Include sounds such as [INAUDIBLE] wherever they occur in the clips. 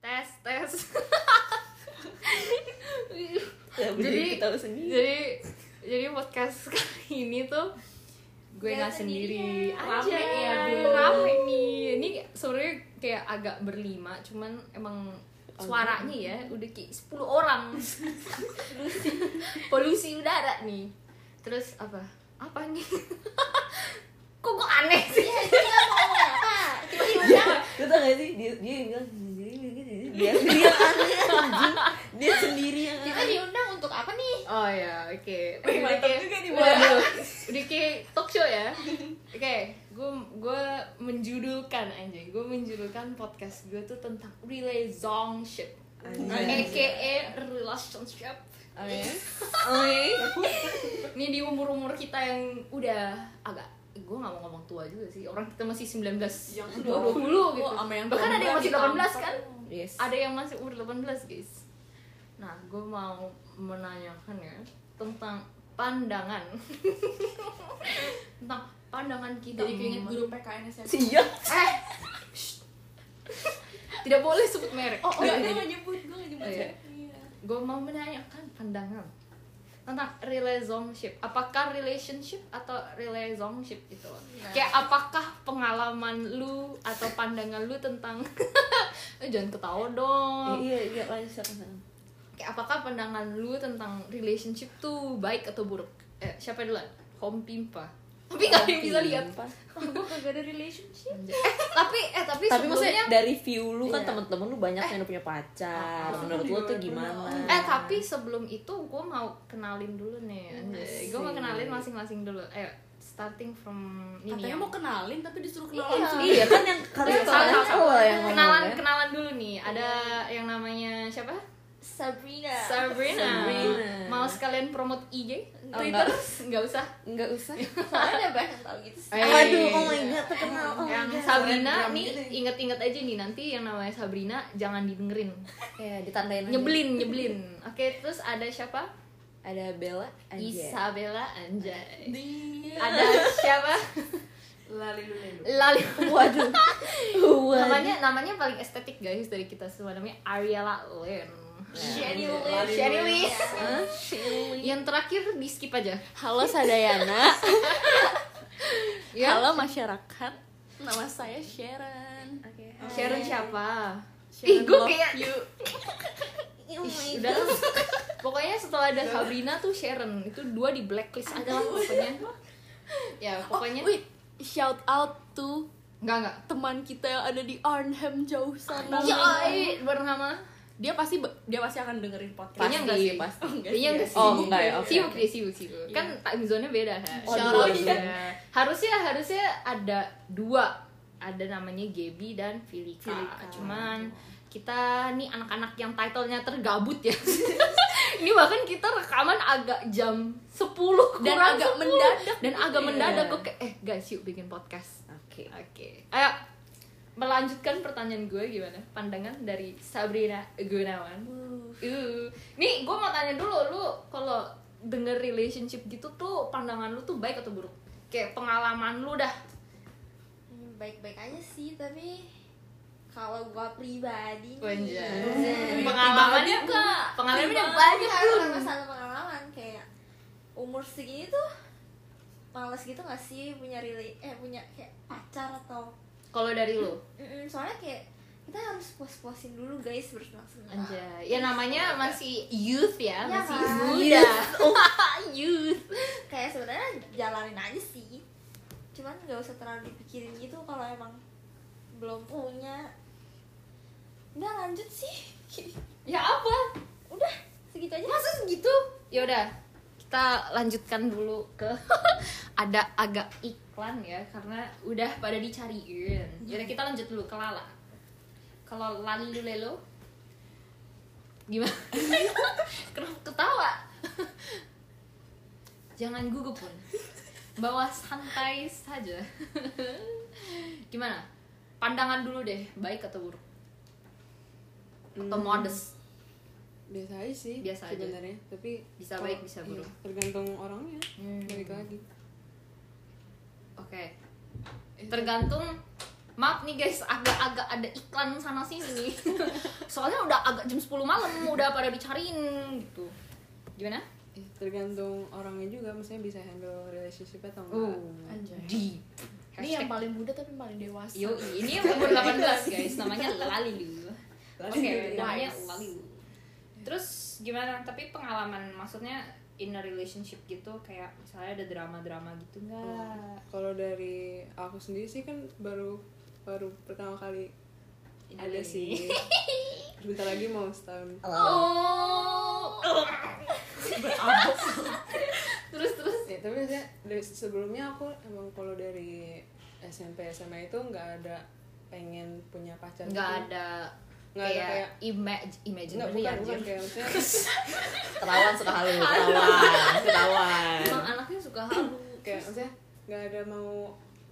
tes tes Ya, Bu Jadi- ya. Dewi tahu [LAUGHS] sendiri. jadi jadi podcast kali ini tuh gue Gak nggak sendiri sendirian. aja Rame ya, Bu. rame nih ini sebenarnya kayak agak berlima cuman emang suaranya ya udah kayak 10 [LAUGHS] orang polusi udara nih terus apa apa nih [LAUGHS] kok gue aneh sih Iya, Iya, dia mau apa? Ya, Tiba-tiba lu tau gak sih dia dia yang bilang sendiri sendiri dia sendiri yang aneh [LAUGHS] anjing. Dia sendiri ya kan? yang kita aneh. diundang untuk apa nih? Oh ya, oke. Wih, Udah mantap kayak- juga nih, udah- Bang. Udah kayak talk show ya. Oke, gue gue menjudulkan anjay. Gue menjudulkan podcast gue tuh tentang relationship. Anjay. AKA relationship. Aneh. Ini di umur-umur kita yang udah agak gue gak mau ngomong tua juga sih. Orang kita masih 19 Yang 20 gitu. Oh, sama yang Bahkan ada yang masih 18 ditampar. kan? Yes. ada yang masih umur 18 guys nah gue mau menanyakan ya tentang pandangan [LAUGHS] tentang pandangan kita Jadi keinget guru PKN SMP. Siap. eh Shh. tidak boleh sebut merek Oh, enggak, gue iya. gak nyebut, gue gak nyebut. Oh, iya. Iya. gue mau menanyakan pandangan tentang relationship apakah relationship atau relationship itu Nah. kayak apakah pengalaman lu atau pandangan lu tentang [LAUGHS] Eh, jangan ketawa dong Eh, Iya, iya, lanjut silakan, silakan. kayak apakah pandangan lu tentang relationship tuh baik atau buruk? Eh, siapa duluan? Home pimpa. Tapi nggak ada yang bisa lihat. Pas. Gue kagak ada relationship. Eh, tapi eh tapi, Tapi maksudnya sebelumnya dari view lu kan Iya. temen-temen lu banyak yang udah punya pacar. Ah, Menurut lu tuh iya, gimana? bener. eh tapi sebelum itu gue mau kenalin dulu nih. Gue mau Asik. kenalin masing-masing dulu. Eh starting from ini Katanya ya. Iya. mau kenalin tapi disuruh kenalan Iya. sendiri. Iya kan yang kalau Iya, soalnya salah satu. lo yang Iya. ngomong kenalan ya. kenalan dulu nih. Ada yang namanya siapa? Sabrina. Sabrina. Iya. Sabrina. Mau sekalian promote IG? Oh, Twitter? Nggak usah. Enggak usah. Iya. Soalnya banyak yang tahu gitu sih. Eh. [LAUGHS] Aduh, oh my god, terkenal. Oh my yang Iya, God. Sabrina Instagram nih gitu ya. inget-inget aja nih nanti yang namanya Sabrina jangan didengerin Iya, Ya, ditandain aja. nyebelin nyebelin oke terus ada siapa Ada Bella, Anjay. Isabella Anjay Iya. Dia. ada siapa Lali dulu ya, dulu. Lali Waduh. [LAUGHS] Waduh. namanya namanya paling estetik guys dari kita semua namanya Ariela Lin Shani Iya. Lin. Shani Lin. Hah? yang terakhir di skip aja Halo Sadayana. ya Halo masyarakat. Nama saya Sharon. Oke. Iya. Sharon siapa Sharon Ih, gue love kayak Iya, Oh my udah pokoknya setelah ada Sabrina tuh Sharon itu dua di blacklist aja lah pokoknya ya pokoknya Wait, shout out to Enggak, enggak. teman kita yang ada di Arnhem jauh sana. Iya, eh, bernama Dia pasti dia pasti akan dengerin podcast. Kayaknya enggak sih. pasti. Kayaknya enggak sih. Oh, enggak ya, oke, Sibuk oke. Iya. dia, sibuk, sibuk. Kan time zone-nya beda kan. Oh, Shout dua out ya. ya. Harusnya harusnya ada dua. Ada namanya Gaby dan Filika. Cuman kita nih anak-anak yang title-nya tergabut ya. [LAUGHS] Ini bahkan kita rekaman agak jam 10 kurang Dan 10. agak mendadak. dan agak mendadak Iya. kok kayak eh guys yuk bikin podcast. Oke. Oke, ayo melanjutkan pertanyaan gue gimana? Pandangan dari Sabrina Gunawan. Uh. Nih, gue mau tanya dulu, lu kalau denger relationship gitu tuh pandangan lu tuh baik atau buruk? Kayak pengalaman lu dah. Hmm, Baik-baik aja sih, tapi kalau gua pribadi nih, eh, Anjay. Pengalamannya Enggak. pengalamannya Tapi banyak harus lu. ada masalah pengalaman kayak umur segini tuh males gitu gak sih punya rela- eh punya kayak pacar atau Kalau dari lu, Mm-mm, soalnya kayak kita harus puas-puasin dulu guys bersenang-senang anjay. Ya namanya masih youth ya, Iya, masih kan? muda. [LAUGHS] youth. [LAUGHS] kayak sebenarnya jalanin aja sih cuman nggak usah terlalu dipikirin gitu kalau emang belum punya udah lanjut sih [LAUGHS] Ya apa? udah segitu aja masa segitu ya udah kita lanjutkan dulu ke [LAUGHS] ada agak iklan ya karena udah pada dicariin jadi kita lanjut dulu ke Lala kalau Lali dulu Lelo gimana [LAUGHS] kenapa ketawa [LAUGHS] jangan gugup pun bawa santai saja [LAUGHS] gimana pandangan dulu deh baik atau buruk atau Hmm, modest biasa aja sih Biasa aja. sebenarnya tapi Bisa kalau- baik, bisa iya, buruk. tergantung orangnya Hmm. balik lagi Oke. Tergantung maaf nih guys agak-agak ada iklan sana [LAUGHS] sini soalnya udah agak jam 10 malam udah pada dicariin gitu gimana Eh, tergantung orangnya juga maksudnya bisa handle relationship atau enggak oh Anjay. di Ini yang paling muda tapi paling dewasa. yo Oh ini yang umur 18 guys [LAUGHS] namanya lalilu oke Lalilu. namanya lalilu terus gimana tapi pengalaman maksudnya in a relationship gitu kayak misalnya ada drama-drama gitu nggak kalau dari aku sendiri sih kan baru baru pertama kali Ini ada nih. sih [LAUGHS] bentar lagi mau setahun oh terus terus ya tapi biasanya dari sebelumnya aku emang kalau dari SMP SMA itu nggak ada pengen punya pacar nggak gitu. ada Nggak ada kayak, kayak- image image nggak ya bukan bukan anjir. kayak maksudnya Ketahuan suka halu, ketahuan, ketahuan. emang anaknya suka halu kayak maksudnya nggak ada mau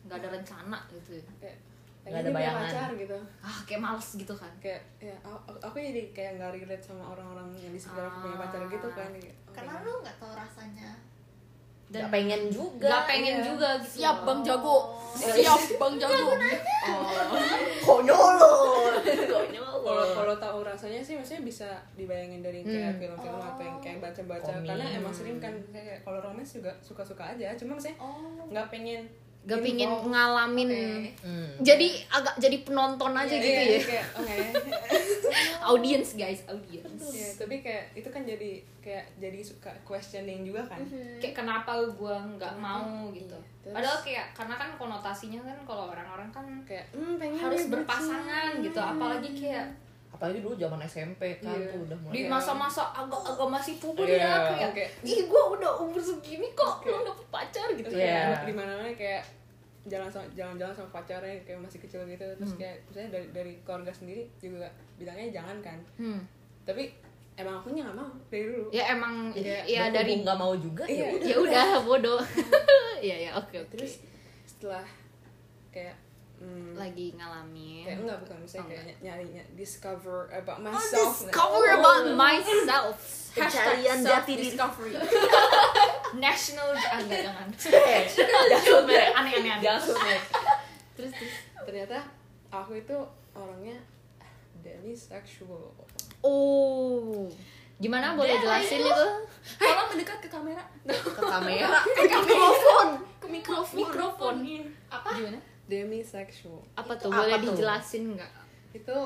nggak ada rencana gitu ya. kayak Nggak pengen ada dia punya bayangan. pacar gitu ah kayak males gitu kan kayak ya aku, aku jadi kayak nggak relate sama orang-orang yang di sekitar aku punya pacar gitu kan kayak, oh karena my God. lu nggak tahu rasanya dan Gak pengen juga. nggak pengen juga gitu Siap loh. Oh. Bang Jago. Siap Bang Jago. Oh. Konyol. kalau kalau tahu rasanya sih maksudnya bisa dibayangin dari kayak Iya. Hmm. film-film atau yang kayak baca-baca Komik. karena emang sering kan kayak kalau romance juga suka-suka aja cuma maksudnya Oh. nggak pengen nggak pengen involve. Iya, ngalamin Hmm. jadi agak jadi penonton aja Iya, gitu iya, ya kayak oke [LAUGHS] audience guys audience Iya, tapi kayak itu kan jadi kayak jadi suka questioning juga kan Mhm. kayak kenapa gue nggak mau gitu Iya, terus- padahal kayak karena kan konotasinya kan kalau orang-orang kan kayak hmm, pengen harus nih berpasangan gitu apalagi kayak Apalagi dulu zaman SMP kan Iya. tuh udah mulai. di masa-masa agak-agak masih puber Iya, ya kayak kayak- ih gue udah umur segini kok lo dapet pacar gitu terus ya Iya. kayak di mana mana kayak jalan sama jalan-jalan sama pacarnya kayak masih kecil gitu terus kayak misalnya dari dari keluarga sendiri juga bilangnya jangan kan Hmm. tapi emang aku nggak mau dari dulu ya emang Iya, ya dari nggak mau juga ya. Iya. udah. ya udah bodoh [LAUGHS] ya ya oke oke terus setelah kayak hmm, lagi kayak ngalamin enggak bukan Oh, misalnya kayak ny- nyari ny- discover about myself Nah, cover about myself Pencarian jati diri. Discovery. national ah enggak jangan Eh, jangan Bener, aneh aneh aneh Jangan sumek. terus terus ternyata aku itu orangnya demisexual oh gimana boleh jelasin itu Tolong mendekat ke kamera. Ke ya. kamera. Ke mikrofon. Mikrofon. Ya apa gimana demisexual apa Itu tuh apa boleh tuh? dijelasin nggak itu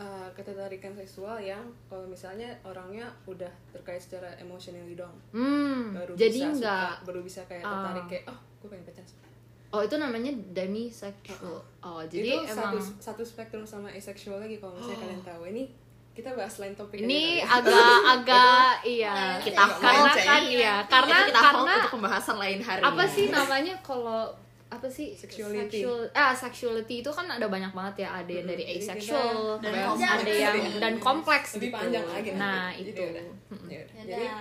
uh, ketertarikan seksual yang kalau misalnya orangnya udah terkait secara emotionally dong hmm baru jadi bisa suka, nggak baru bisa kayak Ah. tertarik kayak oh gue pengen pacaran oh itu namanya demisexual oh jadi itu emang satu satu spektrum sama asexual lagi kalau misalnya [GASPS] kalian tahu ini kita bahas lain topik ini [LAUGHS] aja kali ya. agak-agak iya Gitu. Kita karena lanceng. kan iya karena Itu kita hold karena untuk pembahasan lain hari. apa sih Nah, namanya kalau apa sih Sexuality. Sexual- ah sexuality itu kan ada banyak banget ya ada yang dari Mm-mm. Jadi kita asexual dan ada kompleks. yang dan kompleks gitu ya. lebih gitu. panjang lagi nanti. nah Jadi itu udah. Ya udah. jadi Yaudah.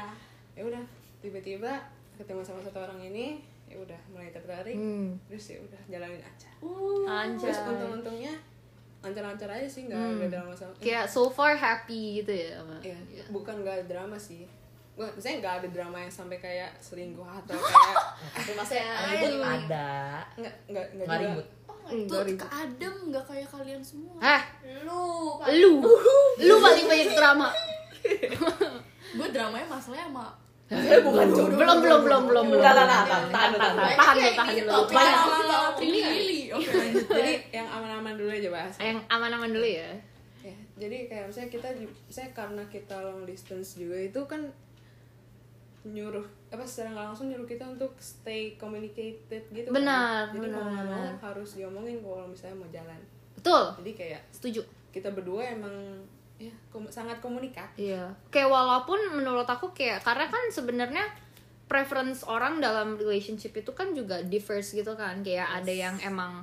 ya udah tiba-tiba ketemu sama satu orang ini ya udah mulai tertarik hmm. terus ya udah jalanin aja anjay terus untung-untungnya lancar-lancar aja sih nggak Hmm. ada drama sama kayak so far happy gitu ya sama- Iya, Iya. bukan nggak ada drama sih Gua, maksudnya nggak ada drama yang sampai kayak selingkuh atau kayak [LAUGHS] Tapi maksudnya ribut ada. nggak nggak Nggak nggak juga. ribut. Tuh ke Adam nggak kayak kalian semua. Hah? lu lu lu paling banyak drama Gue dramanya masalahnya sama Saya bukan jodoh. belum belum belum belum belum Enggak, enggak, enggak. Tahan, tahan, tahan. tahan dulu tahan Iya, dulu gitu. Banyak pilih-pilih. Oke. lanjut. jadi yang aman-aman dulu aja bahas yang aman-aman dulu ya ya, jadi kayak misalnya kita ju- misalnya karena kita long distance juga itu kan nyuruh apa secara nggak langsung nyuruh kita untuk stay communicated gitu kan. Benar, jadi kalau nggak benar. mau harus diomongin kalau misalnya mau jalan betul jadi kayak setuju kita berdua emang ya kom- sangat komunikatif Iya. Kayak walaupun menurut aku kayak karena kan sebenarnya preference orang dalam relationship itu kan juga differs gitu kan. Kayak ada yang emang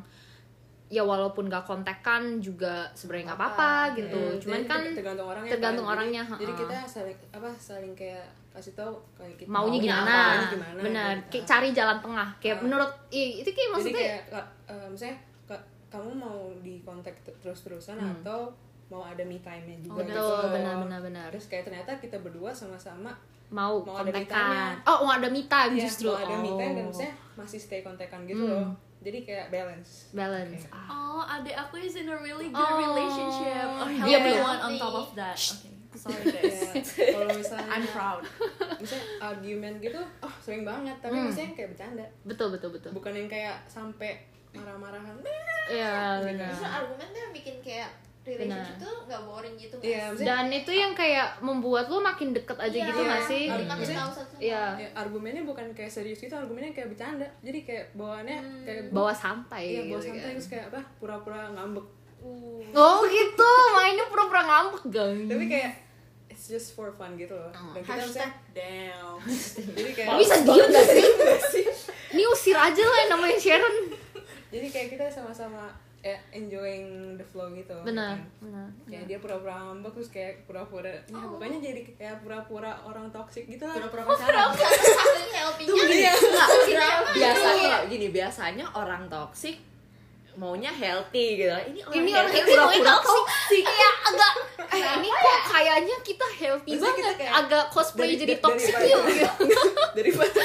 ya walaupun gak kontekan juga sebenarnya nggak apa-apa gitu. Eh, Cuman jadi kan tergantung orangnya tergantung kan. Jadi- orangnya, jadi, ha-ha. kita saling apa saling kayak kasih tahu kayak kita maunya gimana? apa, maunya gimana Benar. gitu. Kayak cari jalan tengah. Kayak Ah. menurut i- itu kayak jadi maksudnya kayak ka- eh, misalnya ka- kamu mau di kontak t- terus-terusan atau mau ada me time-nya juga Hmm. Oh, gitu betul benar benar benar. terus kayak ternyata kita berdua sama-sama Mau, mau ada kontekan. Oh, mau ada me time ya, justru. mau ada me time dan Oh. misalnya masih stay kontakan gitu Hmm. [LAUGHS] loh jadi kayak balance balance. Ah. Oh, adik aku is in a really good Oh. relationship. A Dia healthy belum. one on top of that. Okay. Sorry guys. Kayak kalau misalnya [LAUGHS] I'm proud. misalnya argumen gitu oh sering banget tapi Hmm. misalnya kayak bercanda betul betul betul bukan yang kayak sampai marah-marahan Nah, iya benar Justru argumen tuh yang bikin kayak relationship tuh nggak boring gitu Mas. Iya, maksudnya dan itu yang kayak membuat lo makin deket aja Iya, gitu gak sih makin Maksudnya- tahu satu sama Iya. ya, argumennya bukan kayak serius gitu argumennya kayak bercanda jadi kayak bawaannya kayak Hmm. bawa santai iya bawa gitu santai kan. terus kayak apa pura-pura ngambek oh gitu mainnya pura-pura ngambek gang tapi kayak it's just for fun gitu loh dan kita Hashtag misalnya- [LAUGHS] damn. jadi kayak Ah, bisa Iya. diem gak sih ini usir aja lah yang namanya Sharon jadi kayak kita sama-sama ya, enjoying the flow gitu benar kan. benar kayak dia pura-pura ngambek terus kayak pura-pura ya Oh. pokoknya jadi kayak pura-pura orang toksik gitu lah Pura-pura pacaran. Saking healthy-nya Iya, Enggak, Kenapa? biasanya gini biasanya orang toksik maunya healthy gitu ini orang Iya. ini orang healthy yang pura-pura pura-pura toxic kayak agak eh, ini kok kayaknya kita healthy Iya. Maksudnya kita banget kayak- agak cosplay dari- jadi dari- ya? toxic daripada- yuk gitu. daripada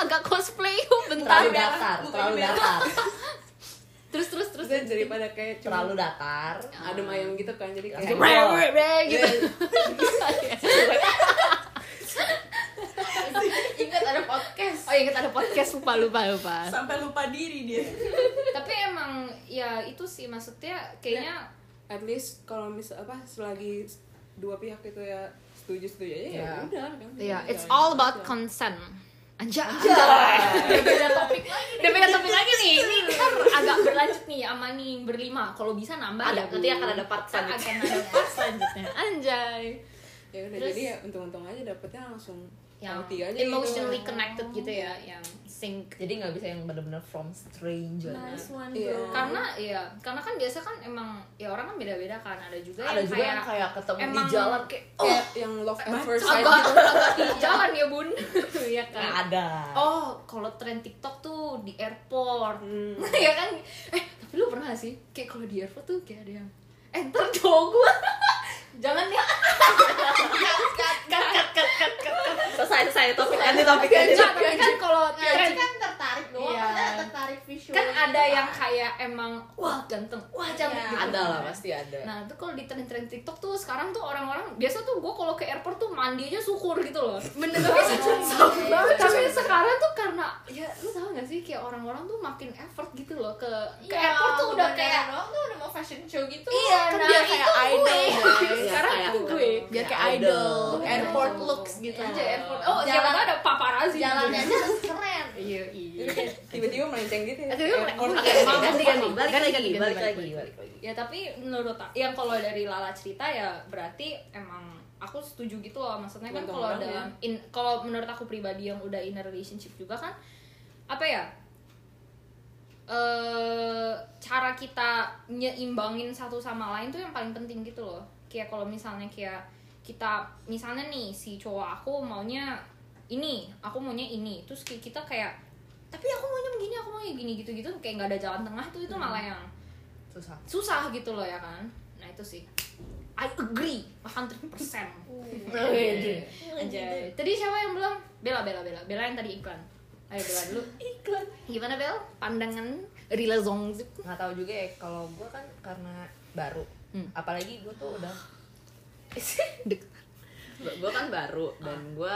agak cosplay yuk [LAUGHS] bentar terlalu datar terlalu datar terus terus terus maksudnya daripada kayak cuma terlalu datar adem ayam gitu kan jadi kayak Langsung rewel. gitu Ingat ada podcast oh ingat ada podcast lupa lupa lupa Sampai lupa diri dia. [LAUGHS] tapi emang ya itu sih maksudnya kayaknya at least kalau misal apa selagi dua pihak itu ya setuju setuju aja ya Ya. udah kan ya it's all about consent Anjay, Udah beda topik lagi Udah beda topik lagi nih Ini ntar agak berlanjut nih sama nih berlima Kalau bisa nambah ya Ada, nanti akan ada part Ntar selanjutnya. akan ada part selanjutnya Anjay ya udah Terus- jadi ya untung-untung aja dapetnya langsung [LAUGHS] Yang healthy aja gitu. emotionally connected gitu ya Yang sync jadi nggak bisa yang bener-bener from stranger Nice one Iya. bro. karena ya karena kan biasa kan emang ya orang kan beda-beda kan ada juga ada yang juga kayak, yang kayak ketemu di emang jalan kayak kayak oh. yang love at first sight agak gitu agak [LAUGHS] di jalan ya bun [LAUGHS] ya kan nggak Nah, ada Oh, kalau tren TikTok tuh di airport. Hmm. [LAUGHS] ya kan? Eh, tapi lu pernah nggak sih kayak kalau di airport tuh kayak ada yang eh ntar cowok [LAUGHS] gua. Jangan ya. Cut, Kan kan kan kan kan. selesai selesai topik anti topik Kan anti topik. tapi kan kalau Ngaji tren kan tertarik doang, Iya. ada tertarik visual kan ada yang kayak emang wah ganteng, wah cantik Iya. gitu. Nah, ada lah pasti ada Nah, itu kalau di tren-tren TikTok tuh sekarang tuh orang-orang biasa tuh gua kalau ke airport tuh mandi aja syukur gitu loh. Bener tapi Tapi tapi sekarang tuh karena ya lu tau gak sih kayak orang-orang tuh makin effort gitu loh ke ke Iya, airport tuh udah beneran kayak doang tuh udah mau fashion show gitu Iya, kan nah, biar kayak itu idol, gue. Iya, guys. Sekarang Biar itu kayak gue. biar kayak Ya, idol, idol. airport looks gitu. Aja airport. Oh, Jalan- siapa tahu ada paparazzi. jalannya aja harus keren Iya, iya. Jadi kayak tiba-tiba melenceng gitu ya Eh, Tiba-tiba Kayak orang- melenceng. Ganti, ganti ganti balik Ganti, lagi ganti, balik balik lagi lagi. balik lagi Ya tapi menurut aku- yang kalau dari Lala cerita ya berarti emang aku setuju gitu loh maksudnya kan Tergantung kalau orangnya. dalam ya. in- kalau menurut aku pribadi yang udah in a relationship juga kan apa ya eh cara kita nyeimbangin satu sama lain tuh yang paling penting gitu loh kayak kalau misalnya kayak kita misalnya nih si cowok aku maunya ini aku maunya ini terus kayak kita kayak tapi aku maunya begini aku maunya gini gitu gitu kayak nggak ada jalan tengah tuh Hmm. itu malah yang susah susah gitu loh ya kan nah itu sih I agree 100% aja tadi siapa yang belum Bella Bella Bella Bella yang tadi iklan ayo Bella dulu iklan gimana Bel pandangan Rila Zongzip nggak tahu juga ya kalau gue kan karena baru Hmm. apalagi gue tuh udah [LAUGHS] Dek. gue kan baru dan gue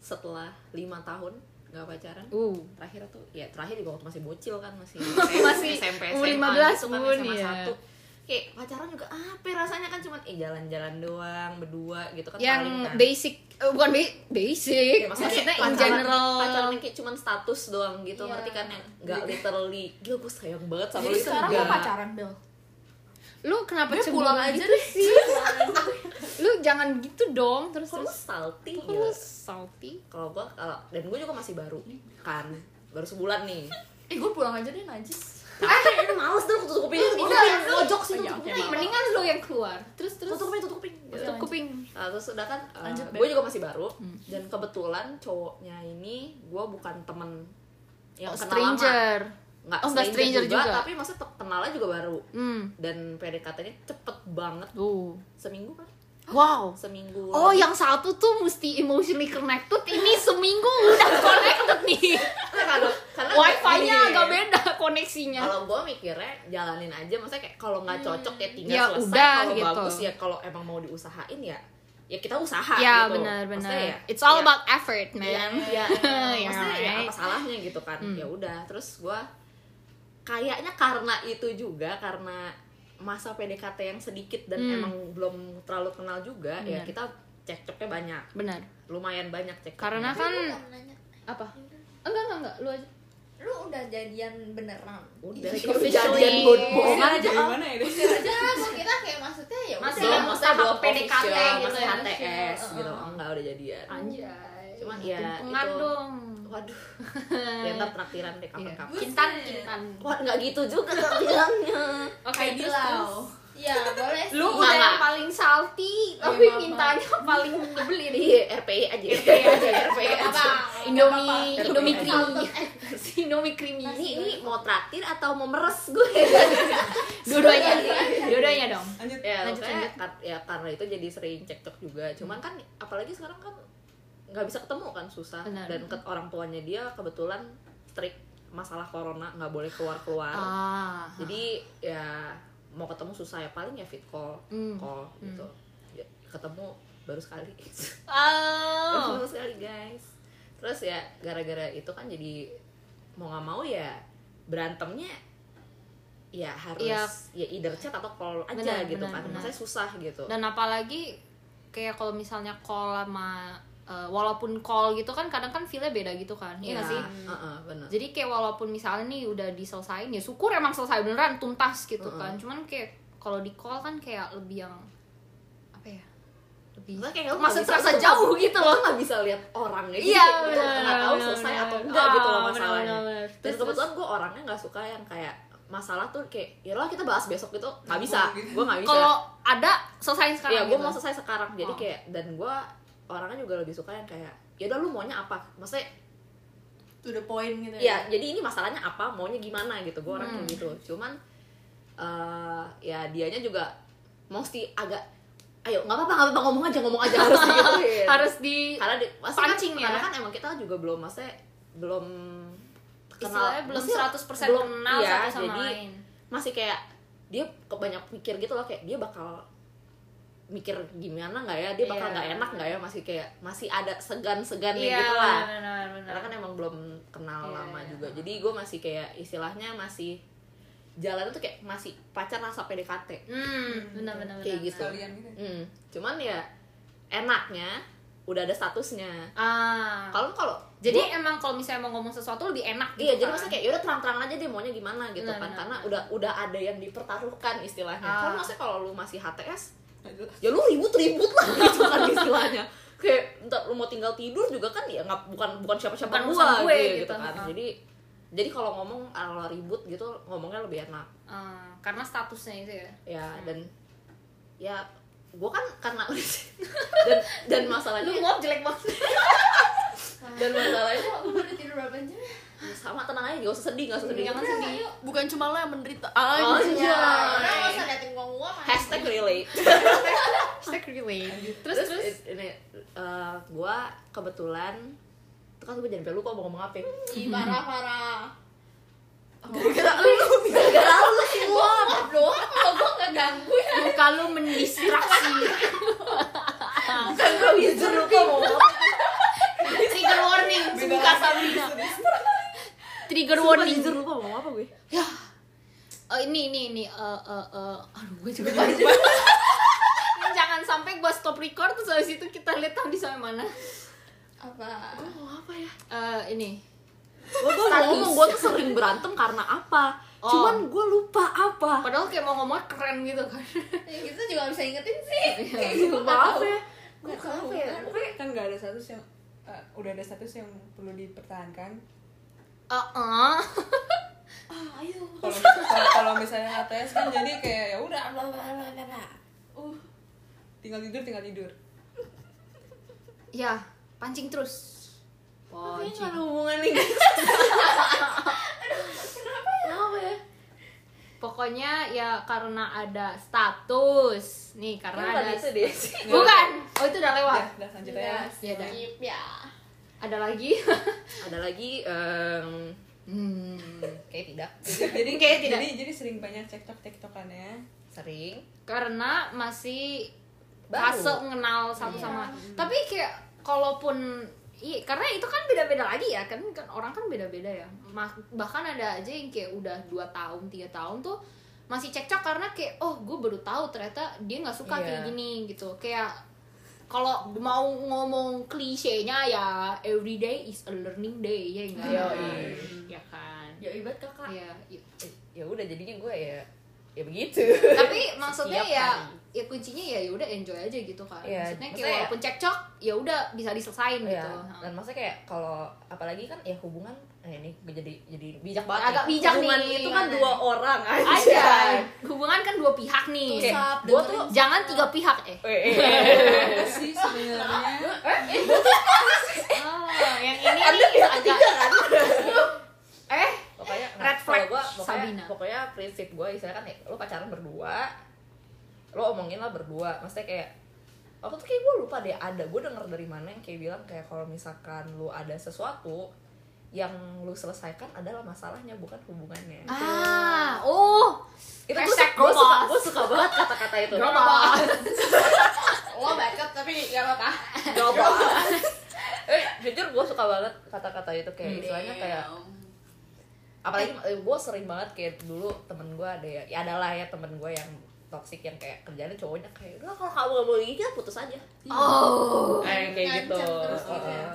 setelah lima tahun nggak pacaran uh terakhir tuh ya terakhir juga waktu masih bocil kan [LAUGHS] masih Masih SMP umur 15 SMA gitu kan pun, SMA ya. satu kayak pacaran juga apa ya rasanya kan cuman eh jalan-jalan doang berdua gitu kan yang paling kan. basic eh, bukan ba- basic Ya, maksudnya in pacaran- general pacaran kayak cuman status doang gitu Iya. ngerti kan yang nggak literally gila gue sayang banget sama Jadi lu itu sekarang nggak. lo pacaran Bel? lu kenapa Dia cemburu pulang aja gitu deh sih lu jangan gitu dong terus kok lu terus salty Kok gila? lu salty kalau gue kalau dan gue juga masih baru kan baru sebulan nih Eh gue pulang aja deh najis. eh lu males dong tutup kuping Oh, tutup kuping pojok sih Iya, tutup oke, kuping maaf. mendingan lu yang keluar terus terus tutup kuping tutup kuping tutup kuping Nah, terus udah kan uh, Lanjut, Beb. gue juga masih baru Hmm. dan kebetulan cowoknya ini gue bukan temen Oh, yang kenal lama stranger nggak Oh, nggak stranger juga. tapi masa kenalnya juga baru hmm dan PDKT-nya cepet banget tuh seminggu kan Wow. seminggu Oh, yang satu tuh mesti emotionally connected, ini [LAUGHS] seminggu udah connected nih. kalau karena Wifi-nya gini, agak beda koneksinya. kalau gue mikirnya jalanin aja maksudnya kayak kalau nggak cocok ya tinggal Ya selesai udah, kalau gitu. bagus ya kalau emang mau diusahain ya ya kita usaha Ya, Iya. gitu benar-benar. Maksudnya ya, It's all ya, about effort, man. ya, [LAUGHS] ya, Ya, maksudnya ya apa right. salahnya gitu kan Hmm. ya udah terus gue kayaknya karena itu juga karena masa PDKT yang sedikit dan Hmm. emang belum terlalu kenal juga ya Benar. kita cekcoknya banyak Benar. lumayan banyak cekcoknya Karena kan nanya apa? Enggak, enggak, enggak. Lu aja. lu udah jadian beneran [LAUGHS] udah Jadi kejadian officially- bohongan aja Om. gimana ya deh? aja langsung kita kayak maksudnya ya Masih belum [LAUGHS] dalam maksudnya tahap belum PDKT official, gitu masih ya. HTS Official, gitu uh-uh. enggak udah jadian Anjay. cuman ya Tumpengan itu dong. waduh ya ntar traktiran Iya. deh kapan-kapan Kintan, kintan. wah nggak gitu juga bilangnya Oke, Kayak gitu. terus, Dilau. terus. ya boleh sih. Lu Enggak, udah yang enggak. paling salty, tapi apa-apa. mintanya paling nyebelin. iya RPI aja RPI [LAUGHS] aja RPI aja Indomie, Gak apa-apa. Indomie Gak creamy. [LAUGHS] Indomie creamy. ini ini mau traktir atau mau meres gue Dua-duanya, dua-duanya dong. Lanjut. [LAUGHS] ya Lanjut, maksudnya lanjut. kar- ya karena itu jadi sering cekcok juga cuman kan apalagi sekarang kan nggak bisa ketemu kan susah Benar. dan ke orang tuanya dia kebetulan strict masalah corona nggak boleh keluar keluar Ah. jadi ya mau ketemu susah ya paling ya fit call Hmm. call gitu Ya, ketemu baru sekali [LAUGHS] Oh. baru sekali guys terus ya gara-gara itu kan jadi mau nggak mau ya berantemnya ya harus Iya. ya either chat atau call aja Benar, gitu benar, kan benar. maksudnya susah gitu Dan apalagi kayak kalau misalnya call sama eh, walaupun call gitu kan kadang kan feel-nya beda gitu kan. Iya nggak sih? Heeh, benar. Jadi kayak walaupun misalnya nih udah diselesain ya syukur emang selesai beneran tuntas gitu Mm-mm. kan. Cuman kayak kalau di call kan kayak lebih yang apa ya? Lebih Maksudnya kayak lu nggak maksud bisa- terasa lu jauh nggak- gitu lu loh. nggak bisa lihat orangnya Jadi Iya, Ah, lu benar, nggak tahu benar, selesai benar. atau enggak gitu loh Benar, masalahnya benar, benar. dan Terus, kebetulan gue orangnya nggak suka yang kayak masalah tuh kayak ya lah kita bahas besok gitu nggak bisa gitu. gue nggak bisa Kalau ada selesai ya sekarang. gue gitu. mau selesai sekarang jadi Oh. kayak dan gue orangnya juga lebih suka yang kayak ya udah lu maunya apa maksudnya To the point gitu Iya. ya jadi ini masalahnya apa maunya gimana gitu gue Iya. orangnya Hmm. gitu cuman eh, ya dianya juga mesti agak ayo nggak apa-apa nggak apa-apa ngomong aja ngomong aja [LAUGHS] harus digituin. Iya. harus di karena di, maksudnya kan- Pancing ya. karena kan emang kita juga belum maksudnya belum istilahnya belum maksudnya 100% belum- kenal iya, satu sama jadi lain. masih kayak dia kok banyak mikir gitu loh kayak dia bakal mikir gimana nggak ya dia bakal Iya. nggak enak nggak ya masih kayak masih ada segan-segannya Iya, gitu lah benar, benar. karena kan emang belum kenal Iya, lama iya. juga jadi gue masih kayak istilahnya masih jalan tuh kayak masih pacar rasa PDKT Hmm, benar benar Kayak benar, gitu. benar. Kalian gitu. Hmm, cuman ya enaknya udah ada statusnya Ah. kalau kalau jadi emang kalau misalnya mau ngomong sesuatu lebih enak gitu. Iya, jadi kan? maksudnya kayak yaudah terang-terang aja deh maunya gimana gitu Benar, kan benar, Karena benar. udah udah ada yang dipertaruhkan istilahnya Ah. Kalau maksudnya kalau lu masih HTS, ya lu ribut-ribut lah [LAUGHS] gitu kan istilahnya Kayak entah lu mau tinggal tidur juga kan ya nggak bukan bukan siapa-siapa Bukan gua, urusan gue gitu, gitu, kan ha. Jadi jadi kalau ngomong kalau ribut gitu ngomongnya lebih enak Ah, karena statusnya itu ya. ya dan ya gua kan karena [LAUGHS] dan dan masalahnya Lu ngomong jelek banget. dan masalahnya Lu udah tidur berapa jam sama tenang aja gak usah sedih gak usah sedih Jangan sedih. Bukan cuma lo yang menderita. Oh, Anjay. iya. Orang nggak usah liatin gua gua hashtag relate Hashtag relate. Terus terus, terus it- ini eh, gua kebetulan itu kan gue jangan sampai lupa mau ngomong apa ya. parah parah gara-gara lu sih gua [LAUGHS] doang kalau gua nggak ganggu ya muka lu mendistraksi. bukan gua jujur lupa mau ngomong apa. Trigger warning, muka Sabrina. Trigger Gua warning. jujur lupa mau ngomong apa gue Eh, ini ini ini eh eh eh aduh gue juga lupa. Ini jangan sampai gue stop record terus habis itu kita lihat tadi sampai mana. apa mau apa ya Eh, ini. gua gua mau ngomong gua tuh sering berantem karena apa Oh. cuman gua lupa apa Padahal kayak mau ngomong keren gitu [LAUGHS] kan. ya kita juga nggak bisa ingetin sih kayak Iya, gua nggak maaf tahu. ya Nggak Gua tahu apa ya? kan. Pokoknya- kan nggak ada status yang eh, udah ada status yang perlu dipertahankan Eh, eh. ah ayo kalau kalau- kalau misalnya HTS kan jadi kayak ya udah bla bla bla bla bla. uh tinggal tidur tinggal tidur Ya, pancing terus. Kayaknya Pancing. nggak ada hubungan nih kenapa ya Pokoknya ya karena ada status. Nih, karena Kan ada tadi itu dia sih. Bukan. Oh, itu udah lewat. Udah, udah lanjut aja. Ya, dah. Skip ya. Ada lagi? [LAUGHS] Ada lagi em, hmm. kayak tidak Jadi Kayaknya tidak. Eh, Jadi jadi sering banyak cekcok cekcokan ya. sering. karena masih Baru. fase mengenal satu sama tapi kayak kalaupun i- karena itu kan beda-beda lagi ya kan kan orang kan beda-beda ya Ma- bahkan ada aja yang kayak udah dua tahun tiga tahun tuh masih cekcok karena kayak oh gue baru tahu ternyata dia nggak suka Iya. kayak gini gitu kayak kalau mau ngomong klisenya ya every day is a learning day ya enggak Iya, Yoi. ya kan Ya ibat kakak. ya i- Eh, Ya udah jadinya gue ya ya begitu. tapi maksudnya Setiap ya hari. ya kuncinya ya ya udah enjoy aja gitu kan maksudnya Iya, kayak maksudnya ya- walaupun cekcok ya udah bisa diselesain Iya, gitu dan maksudnya kayak kalau apalagi kan ya hubungan eh ini gue jadi jadi bijak banget Agak nih. bijak hubungan nih. itu kan Gimana dua orang aja, ada hubungan kan dua pihak nih Oke, Sap, gua dengerin. tuh- jangan tiga pihak eh [LAUGHS] Eh, eh, eh. Apa sih sebenarnya? oh, yang ini nih agak [LAUGHS] eh pokoknya Red kalau flag, gua, pokoknya, Sabina. pokoknya prinsip gue istilahnya kan ya, lo pacaran berdua lo omongin lah berdua maksudnya kayak aku tuh kayak gue lupa deh ada gue denger dari mana yang kayak bilang kayak kalau misalkan lo ada sesuatu yang lo selesaikan adalah masalahnya bukan hubungannya ah oh itu tuh Hashtag gue suka gemas. gue suka banget kata-kata [LAUGHS] itu drama Lo bacot tapi gak apa-apa. [LAUGHS] Gemas. eh jujur gue suka banget kata-kata itu kayak Iya. istilahnya kayak apalagi gue sering banget kayak dulu temen gue ada ya, ya adalah ya temen gue yang toksik yang kayak kerjanya cowoknya kayak udah kalau kamu gak mau gini ya putus aja oh eh, kayak gitu Ngancam terus Heeh. gitu ya.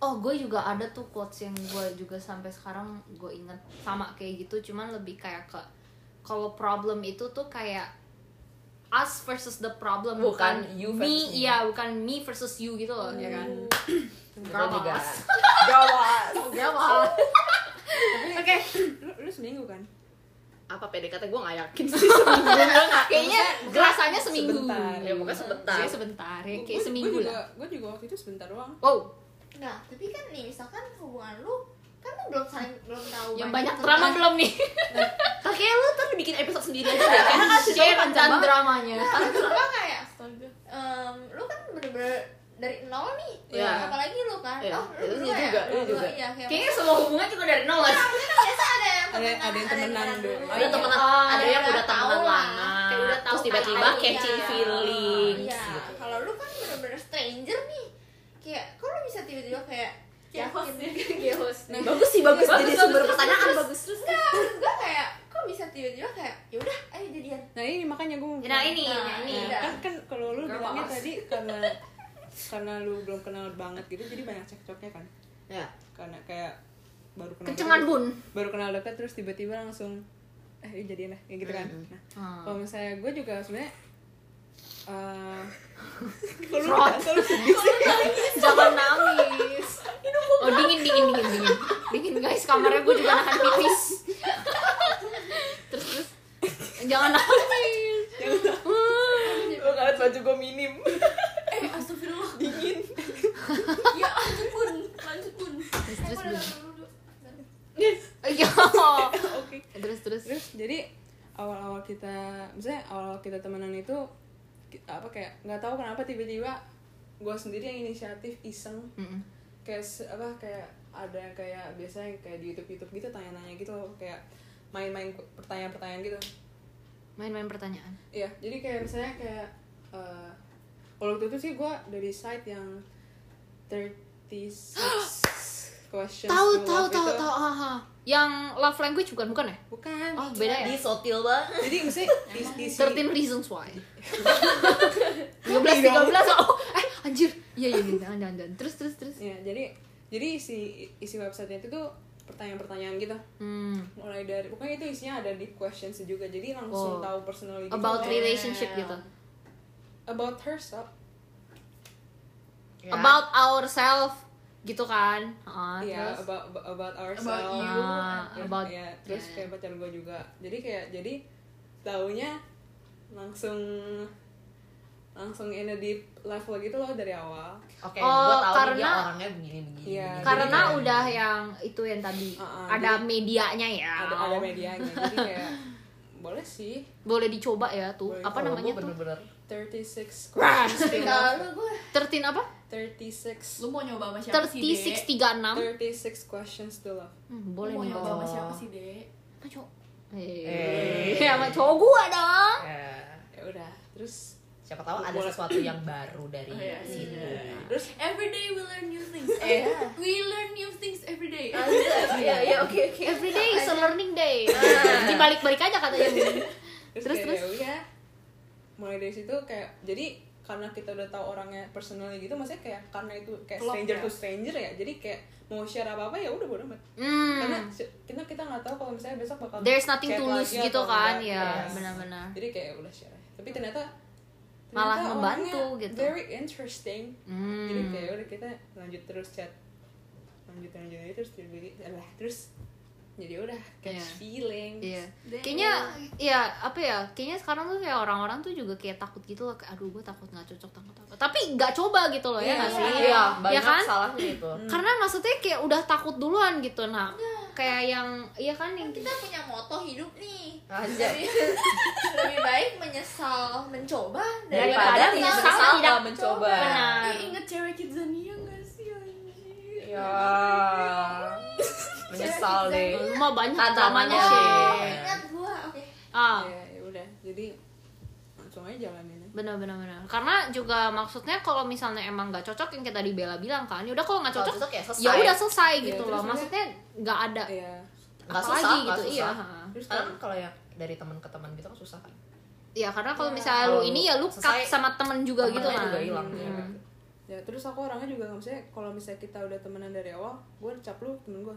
oh gue juga ada tuh quotes yang gue juga sampai sekarang gue inget sama kayak gitu cuman lebih kayak ke kalau problem itu tuh kayak us versus the problem Bukan you versus me me. iya bukan me versus you gitu loh ya kan Itu Drama. juga [LAUGHS] Oh, ya drama Oke, lu, lu seminggu kan? apa PDKT gue gak yakin sih sebenarnya kayaknya rasanya seminggu sebentar. ya mungkin sebentar Kayaknya sebentar ya Gua- kayak gua- seminggu gua juga, lah Gue juga waktu itu sebentar doang. wow Nah, tapi kan nih misalkan hubungan lu kan lu belum saling belum tahu yang banyak drama tentang- belum nih kayak lu ntar bikin episode sendiri aja deh kan? karena share tentang dramanya Karena gua kayak em, lu kan bener-bener dari nol nih. Iya. Apalagi lu kan. Iya, Oh, lu itu berdua juga, itu ya? Berdua, juga. Iya, kayak kayaknya semua hubungan juga dari nol kan kan biasa ada yang Ada- temenan, ada yang temenan dulu. dulu. ada Iya. temenan Oh, ada yang udah udah tahu temenan lah. lama Kayak udah terus tahu tiba-tiba gitu. kata-kata. catching Iya. feeling Iya, kalau lu kan bener-bener stranger nih. Kayak kok lu bisa tiba-tiba kayak Chaos yakin ya. chaos. Nah, bagus sih bagus, Bagus, jadi bagus, sumber bagus. pertanyaan bagus terus enggak, maksud gua kayak kok bisa tiba-tiba kayak ya udah ayo jadian. Nah ini makanya gue nah ini Nah, nah, ini iya. kan kan kalau lu Girl bilangnya boss. tadi karena karena lu belum kenal banget gitu jadi banyak cekcoknya kan ya karena kayak baru kenal kencengan deket- bun baru kenal dekat terus tiba-tiba langsung eh ini jadian lah kayak gitu kan nah, Ah. Hmm. kalau misalnya gue juga sebenarnya [LAUGHS] eh kalau lu- Fraud. kalau lu sedih sih Jangan nangis. Oh dingin dingin dingin dingin. Dingin guys, kamarnya gue juga nahan pipis. terus terus jangan nangis. gue ngeliat baju gue minim [LAUGHS] Eh, astagfirullah. Dingin. [LAUGHS] ya, lanjut bun, lanjut bun. Terus terus Aku udah terus. tahu dulu. Iya. [LAUGHS] oke Terus terus. terus jadi awal-awal kita misalnya awal-awal kita temenan itu ki- apa kayak nggak tahu kenapa tiba-tiba gue sendiri yang inisiatif iseng Mm-mm. kayak se- apa kayak ada yang kayak biasanya kayak di YouTube YouTube gitu tanya-tanya gitu loh, kayak main-main ku- pertanyaan-pertanyaan gitu Main-main pertanyaan. iya jadi kayak misalnya kayak eh, kalau waktu itu sih gue dari site yang [GASPS] 36 questions Tahu to tahu love tahu itu. tahu. aha. Yang love language bukan bukan ya? bukan Oh beda ya. di sotil banget jadi [LAUGHS] misalnya is, is, 13 reasons why. 12 13 oh eh anjir. Iya iya iya, jangan jangan. jangan. Terus terus terus. ya jadi jadi isi isi websitenya itu tuh pertanyaan-pertanyaan gitu Hmm. mulai dari pokoknya itu isinya ada di questions juga jadi langsung Oh. tahu personality gitu, About kayak relationship gitu. about herself about ourselves gitu kan Ah, Iya, terus about about ourselves. you. Ah, Ya, about ya, terus ya. kayak pacar gue juga. Jadi kayak jadi taunya langsung langsung in a deep level gitu loh dari awal. oke Oh, gue tahu nih dia karena- orangnya begini begini Iya, begini. karena Jadi udah yang itu yang tadi Ah, ah, ada medianya ya Ada ada medianya. Jadi kayak boleh sih boleh dicoba ya tuh Boleh. apa Kalau namanya gua tuh bener-bener 36 Wah, Lalu gue 13 apa 36 Lu mau nyoba sama siapa sih, Dek? 36 36 36 questions to love hmm, Lu boleh mau nih nyoba Bang. sama siapa sih, Dek? Apa cowok Eh. eh sama cowok gua dong eh, ya udah terus siapa tahu ada Boleh. sesuatu yang baru dari Oh, iya. situ. terus Every day we learn new things. We learn new things every day. Iya, iya, oke, oke. every day is a learning day dibalik-balik aja katanya Bun. terus, Terus, kayak terus. ya udah mulai dari situ kayak jadi karena kita udah tahu orangnya personalnya gitu maksudnya kayak karena itu kayak Klop stranger ya? to stranger ya jadi kayak mau share apa apa ya udah bodo amat karena hmm se- kita kita nggak tahu kalau misalnya besok bakal there's nothing chat to lose lagi gitu atau kan enggak. ya Yes. benar-benar jadi kayak ya udah share aja. tapi ternyata, ternyata Malah orangnya membantu gitu. very interesting hmm. jadi kayak ya udah kita lanjut terus chat lanjut lanjut lanjut, terus jadi lah terus jadi ya udah catch Iya. feeling Iya. Kayaknya ya apa ya? Kayaknya sekarang tuh kayak orang-orang tuh juga kayak takut gitu loh kayak aduh gue takut nggak cocok takut apa. Tapi nggak coba gitu loh ya nggak sih? Iya, Iya, banyak ya kan? salahnya itu. Karena maksudnya kayak udah takut duluan gitu. Nah, kayak yang iya kan yang kita punya moto hidup nih Aja. lebih baik menyesal mencoba Iya, Daripada Daripada tidak menyesal menyesal tidak tidak mencoba. benar. Ih, iya. inget cewek Kidzania gak sih? anjir? Ya. Menyesal deh. Lu mah Iya. banyak Tantangannya dramanya sih. Iya. sih. ingat gue oke Ah, ya ya udah jadi langsung aja jalanin aja. benar benar benar. Karena juga maksudnya kalau misalnya emang nggak cocok yang kita dibela bilang kan, ya udah kalau nggak Kalau cocok cocok ya selesai. ya udah selesai Iya, gitu terus loh. udah. Maksudnya nggak ada ya Nggak apa susah, lagi nggak gitu. Iya. susah. ha. terus Karena kalau kan kalau yang dari teman ke teman gitu kan susah kan. Ya karena kalau misalnya lu Kalau ini ya lu cut selesai, sama temen juga gitu Temennya kan. juga hilang. ya. Hmm. ya terus aku orangnya juga nggak misalnya kalau misalnya kita udah temenan dari awal gue cap lu temen gue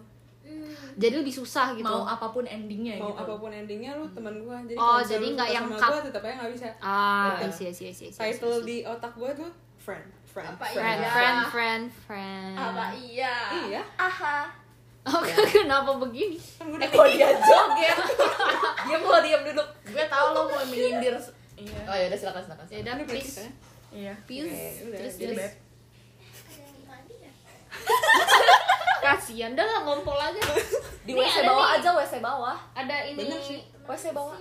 Jadi lebih susah gitu. Mau apapun endingnya mau gitu. apapun endingnya lu temen gue jadi Oh, kalau misalnya jadi lu nggak suka yang sama cut. gue tetap aja nggak bisa Ah, Iya. iya iya iya. ya? title di otak gue tuh friend friend Apa friend. friend, Iya. friend, friend, friend. apa iya iya aha Oh, kenapa begini? kan gue Eh kok [LAUGHS] dia joget? diam lo, diam duduk. Gue tahu lo mau menyindir. Iya. Oh ya udah silakan silakan. Ya udah, please. Iya. Please. udah, Terus jadi- terus. Ada yang mandi ya? Kasihan dah lah ngompol [LAUGHS] aja. Di Ini WC ada bawah nih. aja, WC bawah. Ada ini. Bener sih. WC bawah.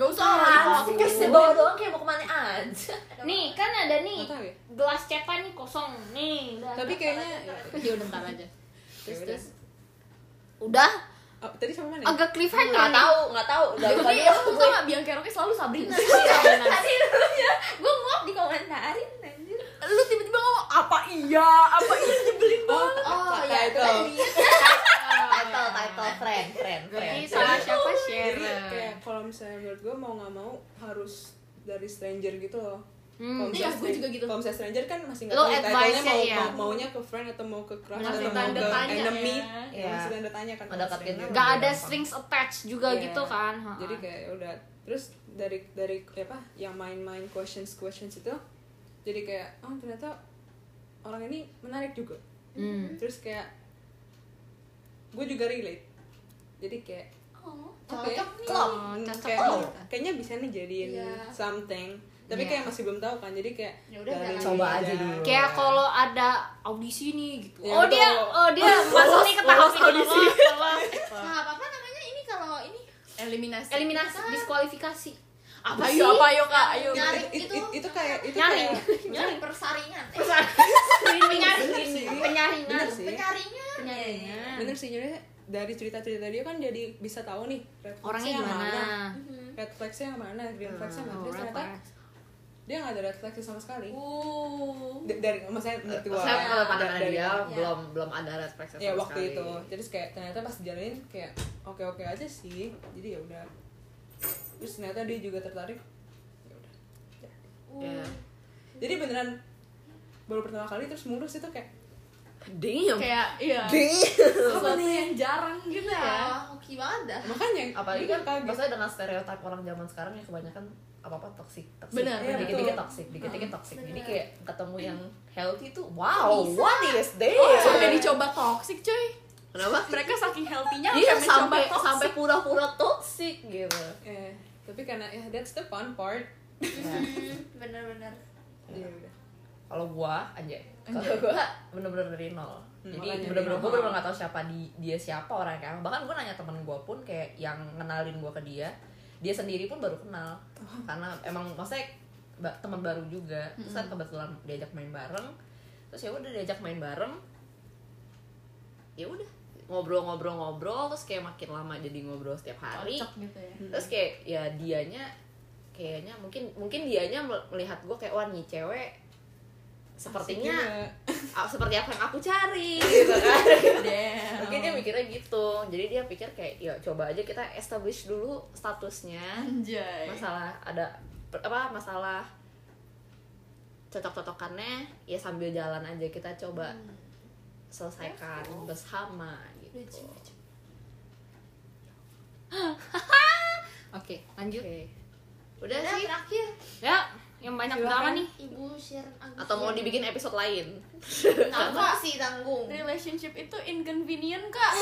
Gak usah Apaan lah. sih? WC bawah doang kayak mau kemana aja. Nih, kan ada nih. Nggak tahu ya. Gelas cepan nih kosong. Nih, udah. tapi kayaknya ya, dia udah ntar aja. Terus udah. terus. Udah oh, tadi sama mana ya? agak cliffhanger nih. Nggak tahu, nggak tahu. Dari Tapi tadi aku tuh gak biang keroknya selalu Iya, Sabrina. Tadi dulunya gue mau dikomentarin anjir. Lu tiba-tiba ngomong apa iya, apa iya nyebelin banget. Oh iya, Kata ya itu. tadi. title, title, friend, friend, friend. Berarti sama siapa share? jadi kayak kalau misalnya menurut gue mau nggak mau harus dari stranger gitu loh Hmm. Iya, gue juga gitu. iya. Kalau misalnya stranger kan masih nggak Lo tahu title-nya advice-nya mau, ya. mau- maunya ke friend atau mau ke crush Masih atau mau tanda ke tanya enemy. ya. gitu. Ya, Masih tanda tanya kan. kalau Mendekatin stranger. Gak ada Gampang. strings attached juga Iya. gitu kan. Ha-ha. Jadi kayak ya udah terus dari dari ya apa yang main-main questions questions itu jadi kayak oh ternyata orang ini menarik juga. Hmm. Terus kayak gue juga relate. Jadi kayak Oke, Oh, Cocok nih. Cocok kayak, gitu, nih. kayaknya bisa nih jadiin Iya. something tapi Iya. kayak masih belum tahu kan jadi kayak Ya udah, jalanin coba aja dulu. kayak kalau ada audisi nih gitu. Iya, oh dia, betul. oh dia masuk nih ke tahap ini lolos, lolos. Nah, apa-apa namanya ini kalau ini Eliminasi. Eliminasi, diskualifikasi. Apa sih? Ah. Ayo, apa ayo kak, ayo. Yang Nyari It- it- itu. it- itu kan kayak itu Nyari. kayak nyari persaringan. Eh, Penyaringan, sih. penyaringan, bener sih penyaringan. penyaringan. bener sih jadi dari cerita-cerita dia kan jadi bisa tahu nih red Orangnya flagsnya yang gimana? Mhm. red flagsnya yang mana green flagsnya yang mana Oh, terus ternyata rapper. dia nggak ada red flagsnya sama sekali Uh. D- dari maksudnya menurut gua Saya kalau pandangan dari- dia dari- belum belum ada red flag sama ya waktu sekali. itu jadi kayak ternyata pas jalanin kayak oke oke aja sih jadi ya udah terus ternyata dia juga tertarik ya udah Ya. jadi beneran baru pertama kali terus ngurus itu kayak Damn. Kayak iya. Sesuatu yang jarang gitu ya. Wah, hoki banget dah. makanya Ah, apalagi bener gitu. kan kaget maksudnya dengan stereotip orang zaman sekarang yang kebanyakan apa apa toksik toksik Benar, benar. dikit dikit Betul. toksik dikit dikit toksik jadi Benar. kayak ketemu yang healthy tuh wow what is this Sampai dicoba toxic cuy. kenapa Mereka saking healthy-nya iya sampai mencoba sampai toxic. sampai pura-pura toksik gitu eh tapi karena ya that's the fun part Ya. Hmm, Bener-bener. ya udah kalau gua aja kalau gua bener-bener dari nol Hmm, jadi makanya bener-bener dari gua nol. bener-bener gak tau siapa di, dia siapa orangnya kayak apa. bahkan gua nanya temen gua pun kayak yang ngenalin gua ke dia dia sendiri pun baru kenal Oh. karena emang maksudnya ba- teman baru juga terus Hmm. kan kebetulan diajak main bareng terus ya udah diajak main bareng ya udah ngobrol-ngobrol-ngobrol terus kayak makin lama jadi ngobrol setiap hari Cocok gitu ya. terus kayak ya dianya kayaknya mungkin mungkin dianya mel- melihat gue kayak wah nih cewek sepertinya Iya. a- seperti apa yang aku [LAUGHS] cari gitu kan Iya. mungkin Oh. dia mikirnya gitu jadi dia pikir kayak ya coba aja kita establish dulu statusnya Iya. Anjay. masalah ada per- apa masalah cocok-cocokannya ya sambil jalan aja kita coba Hmm. selesaikan bersama gitu Oke, lanjut. Oke. udah Udah, sih terakhir Ya, yang banyak drama nih. Ibu Sharon Agus atau mau dibikin episode lain Nggak sih tanggung Relationship itu inconvenient kak.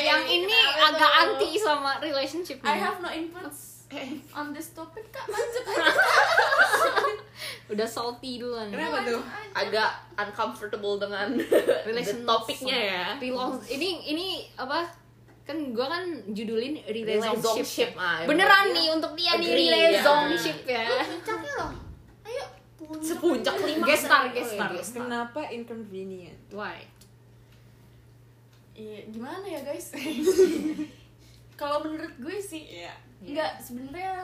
yang ini Kenapa agak tuh? anti sama relationship I nih. have no inputs on this topic kak. Lanjut aja. Udah salty duluan. Kenapa Iya. tuh? agak uncomfortable dengan [LAUGHS] Relation- the topiknya ya Relong- ini ini apa? Kan gua kan judulin relationship. relationship ah, Beneran emang. nih untuk dia nih Agree, ya. relationship ya. Iya. Puncaknya loh Ayo sepuncak lima Gestar, gestar. Kenapa inconvenient? Why? Iya, gimana ya [LAUGHS] guys? Kalau menurut gue sih Iya. ya, nggak sebenarnya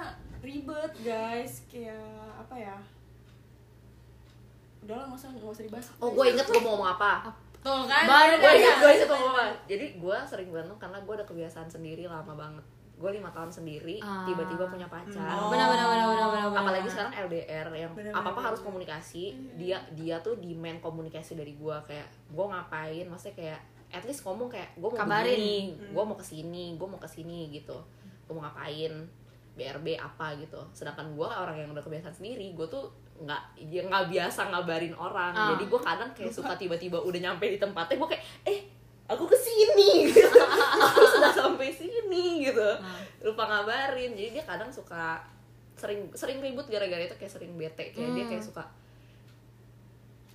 ribet guys, kayak apa ya? Udah lah, nggak usah nggak usah dibahas. oh gue inget gue mau ngomong apa Tuh kan? Baru gue Iya, inget gue inget mau ngomong apa jadi gue sering berantem karena gue ada kebiasaan sendiri lama banget gue lima tahun sendiri Ah. Hmm. Oh. tiba-tiba punya pacar Benar benar benar benar benar. benar. apalagi sekarang LDR yang apa apa harus komunikasi dia dia tuh demand komunikasi dari gua kayak gua ngapain maksudnya kayak at least ngomong kayak gua mau Kabarin. Hmm. begini, gua mau kesini gua mau kesini gitu gua mau ngapain BRB apa gitu sedangkan gua orang yang udah kebiasaan sendiri gua tuh nggak dia nggak biasa ngabarin orang Ah. jadi gua kadang kayak suka tiba-tiba udah nyampe di tempatnya gua kayak eh aku kesini gitu. [LAUGHS] aku sudah sampai sini gitu Ah. lupa ngabarin jadi dia kadang suka sering sering ribut gara-gara itu kayak sering bete kayak dia kayak suka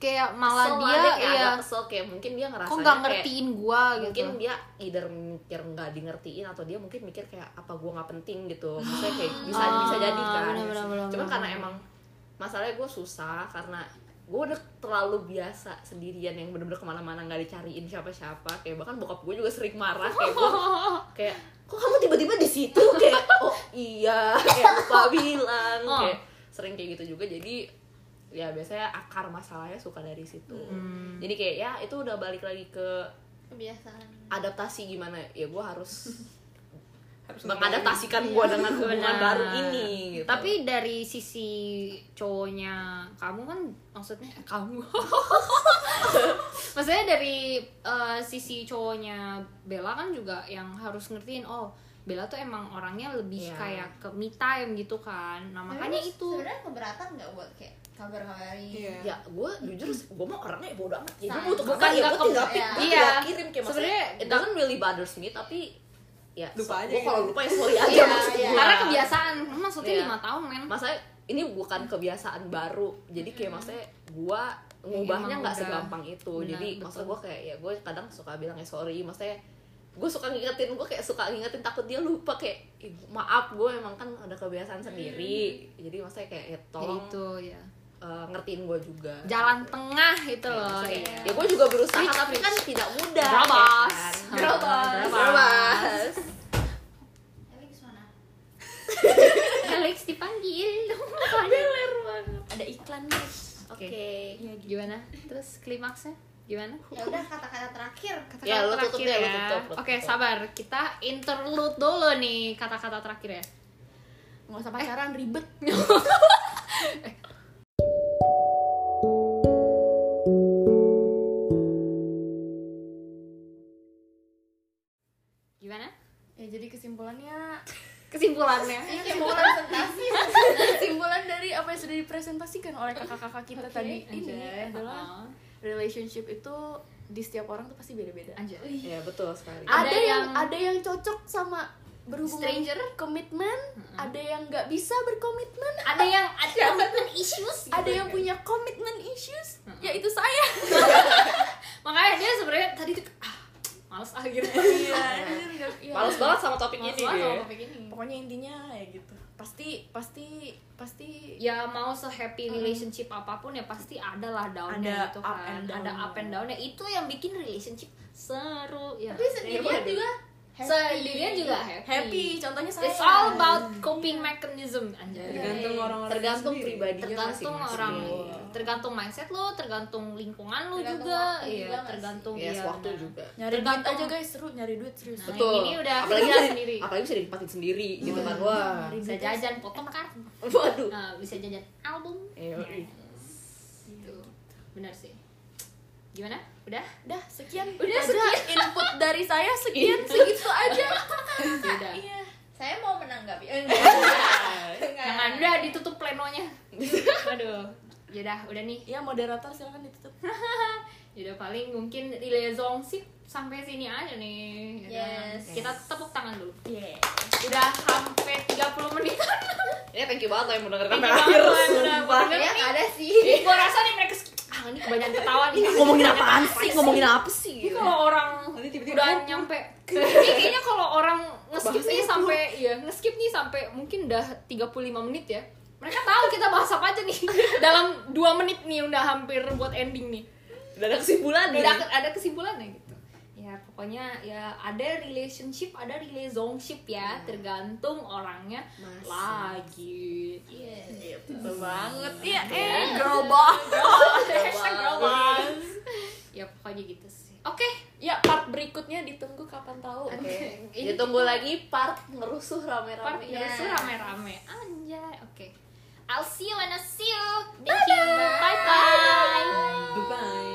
kayak Hmm. malah kesel dia aja, kayak ya agak kesel kayak mungkin dia ngerasa kok nggak ngertiin gua gitu. mungkin dia either mikir nggak di ngertiin atau dia mungkin mikir kayak apa gua nggak penting gitu maksudnya [GASPS] kayak bisa Ah, bisa jadi kan bener, bener, bener, cuma bener. karena emang masalahnya gue susah karena gue udah terlalu biasa sendirian yang bener-bener kemana-mana nggak dicariin siapa-siapa kayak bahkan bokap gue juga sering marah kayak gue kayak kok kamu tiba-tiba di situ kayak oh iya [LAUGHS] kayak lupa bilang Oh. kayak sering kayak gitu juga jadi ya biasanya akar masalahnya suka dari situ Hmm. jadi kayak ya itu udah balik lagi ke Kebiasaan adaptasi gimana ya gue harus [LAUGHS] Harus mengadaptasikan gue dengan hubungan baru ini Iya. gitu. Tapi dari sisi cowoknya kamu kan maksudnya [LAUGHS] kamu. maksudnya dari eh, sisi cowoknya Bella kan juga yang harus ngertiin oh Bella tuh emang orangnya lebih Iya. kayak ke me time gitu kan. Nah, makanya Tapi itu. sebenarnya keberatan nggak buat kayak kabar-kabarin [LAUGHS] ya gue jujur gue mah orangnya bodo amat ya gue Sama. butuh Bukan kabar ya nggak gue tinggal ke- pik ya. gue Iya. tinggal kirim kayak maksudnya Sebenarnya it doesn't really bothers me tapi ya Lupa aja gue gitu. kalau lupa ya sorry aja Iya, maksud iya. gua. Karena kebiasaan. Maksudnya Iya. lima tahun men. maksudnya ini bukan kebiasaan baru jadi kayak maksudnya gue ngubahnya Iya, Emang nggak udah. segampang itu Benar, jadi betul. maksud gue kayak ya gue kadang suka bilang ya sorry maksudnya gue suka ngingetin gue kayak suka ngingetin takut dia lupa kayak "Ih, maaf gue emang kan ada kebiasaan sendiri jadi maksudnya kayak ya, Jadi tolong itu ya. eh, ngertiin gue juga Jalan tengah gitu loh. Maksudnya, Iya. ya gue juga berusaha Switch, tapi kan tidak mudah Berabas. ya kan? Berabas. Berabas. Tapi gimana? Alex [LAUGHS] dipanggil. Beler banget. Ada iklan guys. Oke. Ya, gitu. Gimana? Terus klimaksnya gimana? Ya udah kata-kata terakhir Kata-kata Ya, lu tutup terakhir deh, lu tutup, lu Oke, tutup. sabar. Kita interlude dulu nih kata-kata terakhir ya. Nggak usah pacaran ribet. Gimana? ya jadi kesimpulannya eh, Kesimpulannya. Ini kayak mau presentasi [LAUGHS] kesimpulan dari apa yang sudah dipresentasikan oleh kakak-kakak kita tadi ini Anjay. Oh. adalah relationship itu di setiap orang tuh pasti beda-beda. Anjir. ya betul sekali ada, Ada yang, yang- ada yang cocok sama berhubungan Stranger? komitmen ada yang nggak bisa berkomitmen Ada [LAUGHS] yang ada komitmen issues. gitu ada ya. yang punya Hmm. komitmen issues yaitu saya Makanya dia sebenarnya tadi tuh ah, males ah [LAUGHS] gitu [LAUGHS] Iya, anjir, nggak- iya. Males banget sama topik males ini ya. banget dia. sama topik ini Pokoknya intinya ya gitu. Pasti pasti pasti ya mau se-happy relationship apapun ya pasti ada lah down-nya Ada gitu up kan and down. ada up and down-nya itu yang bikin relationship seru ya tapi udah. sendirian juga sendirian juga happy happy. Contohnya saya. it's all about coping mechanism anjay tergantung orang-orang Iya. Tergantung sendiri. pribadinya tergantung masing-masing. orang tergantung mindset lo tergantung lingkungan lo Tergantung juga waktu juga iya nggak sih? tergantung Iya, iya, waktu benar. juga. nyari duit Tergantung- aja guys, seru nyari duit serius. Nah, Betul. ini udah apalagi kerja bisa, sendiri. Iya. apalagi bisa dinikmatin sendiri gitu kan. Wah. bisa jajan potong kartu Waduh. Nah, bisa jajan album Nah, Yoi. gitu benar sih gimana udah Udah, sekian. Udah, aja input dari saya sekian segitu aja. sudah Iya. saya mau menanggapi eh, Jangan udah ditutup plenonya. Aduh. Yaudah, udah nih. Ya moderator silakan ditutup. Yaudah paling mungkin liaison sih sampai sini aja nih. Yaudah. Yes. Kita tepuk tangan dulu. Iya. Yeah. Udah sampai 30 menit. Ya thank you banget lah yang mendengarkan Thank you sampai banget lah yang akhir. iya, Sumpah. mendengarkan. yang Iya, ada sih Gue rasa nih mereka s- ah ini kebanyakan ketawa nih. [LAUGHS] Ngomongin apaan sih? Ngomongin apa sih? Ini Iya, kalau orang Nanti tiba-tiba udah nyampe ini kayaknya kalau orang ngeskip Bahasa nih itu. sampai iya ngeskip nih sampai mungkin udah 35 menit ya. Mereka tahu kita bahas apa aja nih. [LAUGHS] Dalam 2 menit nih udah hampir buat ending nih. Udah ada kesimpulan nih. ada ada kesimpulannya gitu ya pokoknya ya ada relationship ada relationship ya tergantung orangnya lagi Iya. Betul banget. Iya, eh girl [LAUGHS] boss. Hashtag girl boss. ya pokoknya gitu sih oke Ya part berikutnya ditunggu kapan tahu. Oke. Ini- Ditunggu lagi part ngerusuh part rame-rame. yeah. Iya. rame-rame anjay oke I'll see you when I see you thank you bye bye Bye.